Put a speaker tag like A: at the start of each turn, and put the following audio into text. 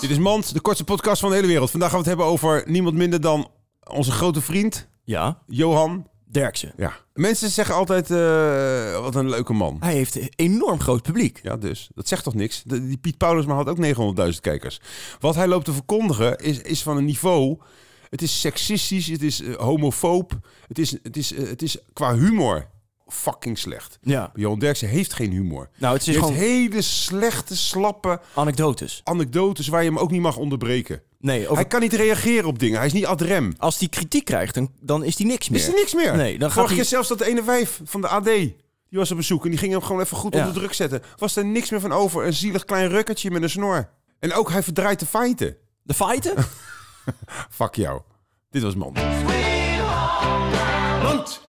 A: Dit is Mand, de kortste podcast van de hele wereld. Vandaag gaan we het hebben over niemand minder dan onze grote vriend,
B: Ja,
A: Johan.
B: Derksen.
A: Ja. Mensen zeggen altijd, eh, wat een leuke man.
B: Hij heeft een enorm groot publiek.
A: Ja, dus. Dat zegt toch niks? De- die Piet Paulusma had ook 900.000 kijkers. Wat hij loopt te verkondigen is, is van een niveau... Het is seksistisch, het is eh, homofoob, het is, het, is, eh, het is qua humor fucking slecht.
B: Ja.
A: Johan Derksen heeft geen humor.
B: Nou, het
A: Hij
B: is
A: heeft
B: gewoon
A: hele slechte, slappe
B: anekdotes.
A: anekdotes waar je hem ook niet mag onderbreken.
B: Nee, over-
A: Hij kan niet reageren op dingen. Hij is niet ad rem.
B: als hij kritiek krijgt, dan, dan is hij niks meer.
A: Is er niks meer?
B: Nee, dan gaat
A: Vorige
B: hij-
A: keer zelfs dat ene wijf van de AD. Die was op bezoek en die ging hem gewoon even goed
B: Ja.
A: onder druk zetten. Was er niks meer van over. Een zielig klein rukkertje met een snor. En ook hij verdraait de feiten.
B: De feiten?
A: Fuck jou. Dit was man.